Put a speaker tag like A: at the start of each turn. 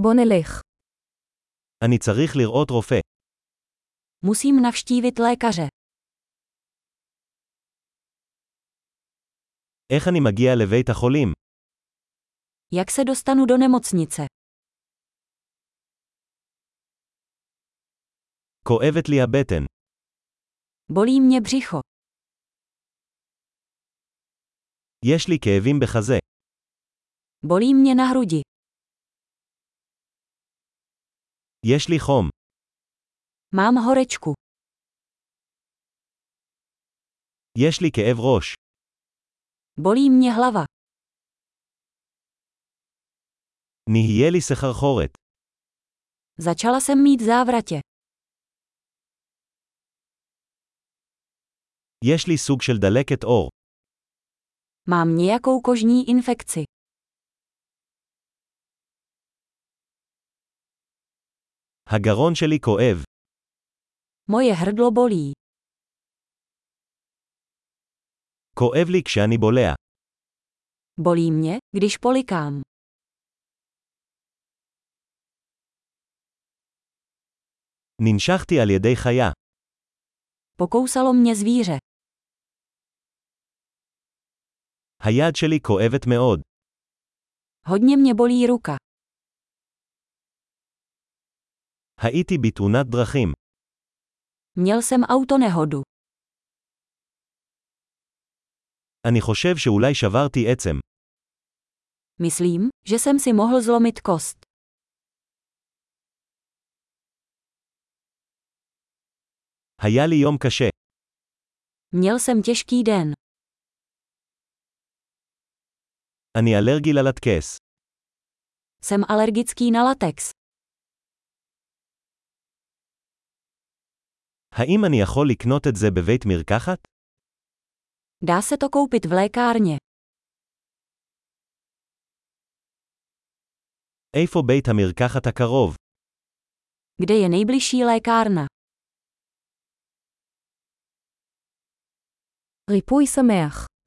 A: בוא נלך.
B: אני צריך לראות רופא.
A: Musím navštívit lékaře.
B: איך אני מגיע לבית החולים?
A: Jak se dostanu do nemocnice?
B: כואבת לי הבטן.
A: Bolí mě břicho.
B: יש לי כאבים בחזה.
A: Bolí mě na hrudi.
B: יש לי חום.
A: Mám horečku.
B: יש לי כאב ראש.
A: Bolí mě hlava.
B: נהיה לי סחרחורת.
A: Začala jsem mít závratě.
B: יש לי סוג של דלקת עור.
A: Mám nějakou kožní infekci.
B: הגרון שלי כואב.
A: Moje hrdlo bolí.
B: כואב לי כשאני בולע.
A: Bolí mě, když polikám.
B: ננשכתי על ידי חיה.
A: Pokousalo mě zvíře.
B: היד שלי כואבת מאוד.
A: Hodně mě bolí ruka.
B: הייתי בתאונת דרכים.
A: Měl jsem autonehodu.
B: אני חושב שאולי שברתי עצם.
A: Myslím, že jsem si mohl zlomit kost.
B: היה לי יום קשה.
A: Měl jsem těžký den.
B: אני אלרגי ללטקס.
A: Jsem alergický na latex.
B: האם אני יכול לקנות את זה בבית מרקחת?
A: Dá se to koupit v lékárně.
B: איפה בית המרקחת הקרוב?
A: Kde je nejbližší lékárna? ריפוי שמח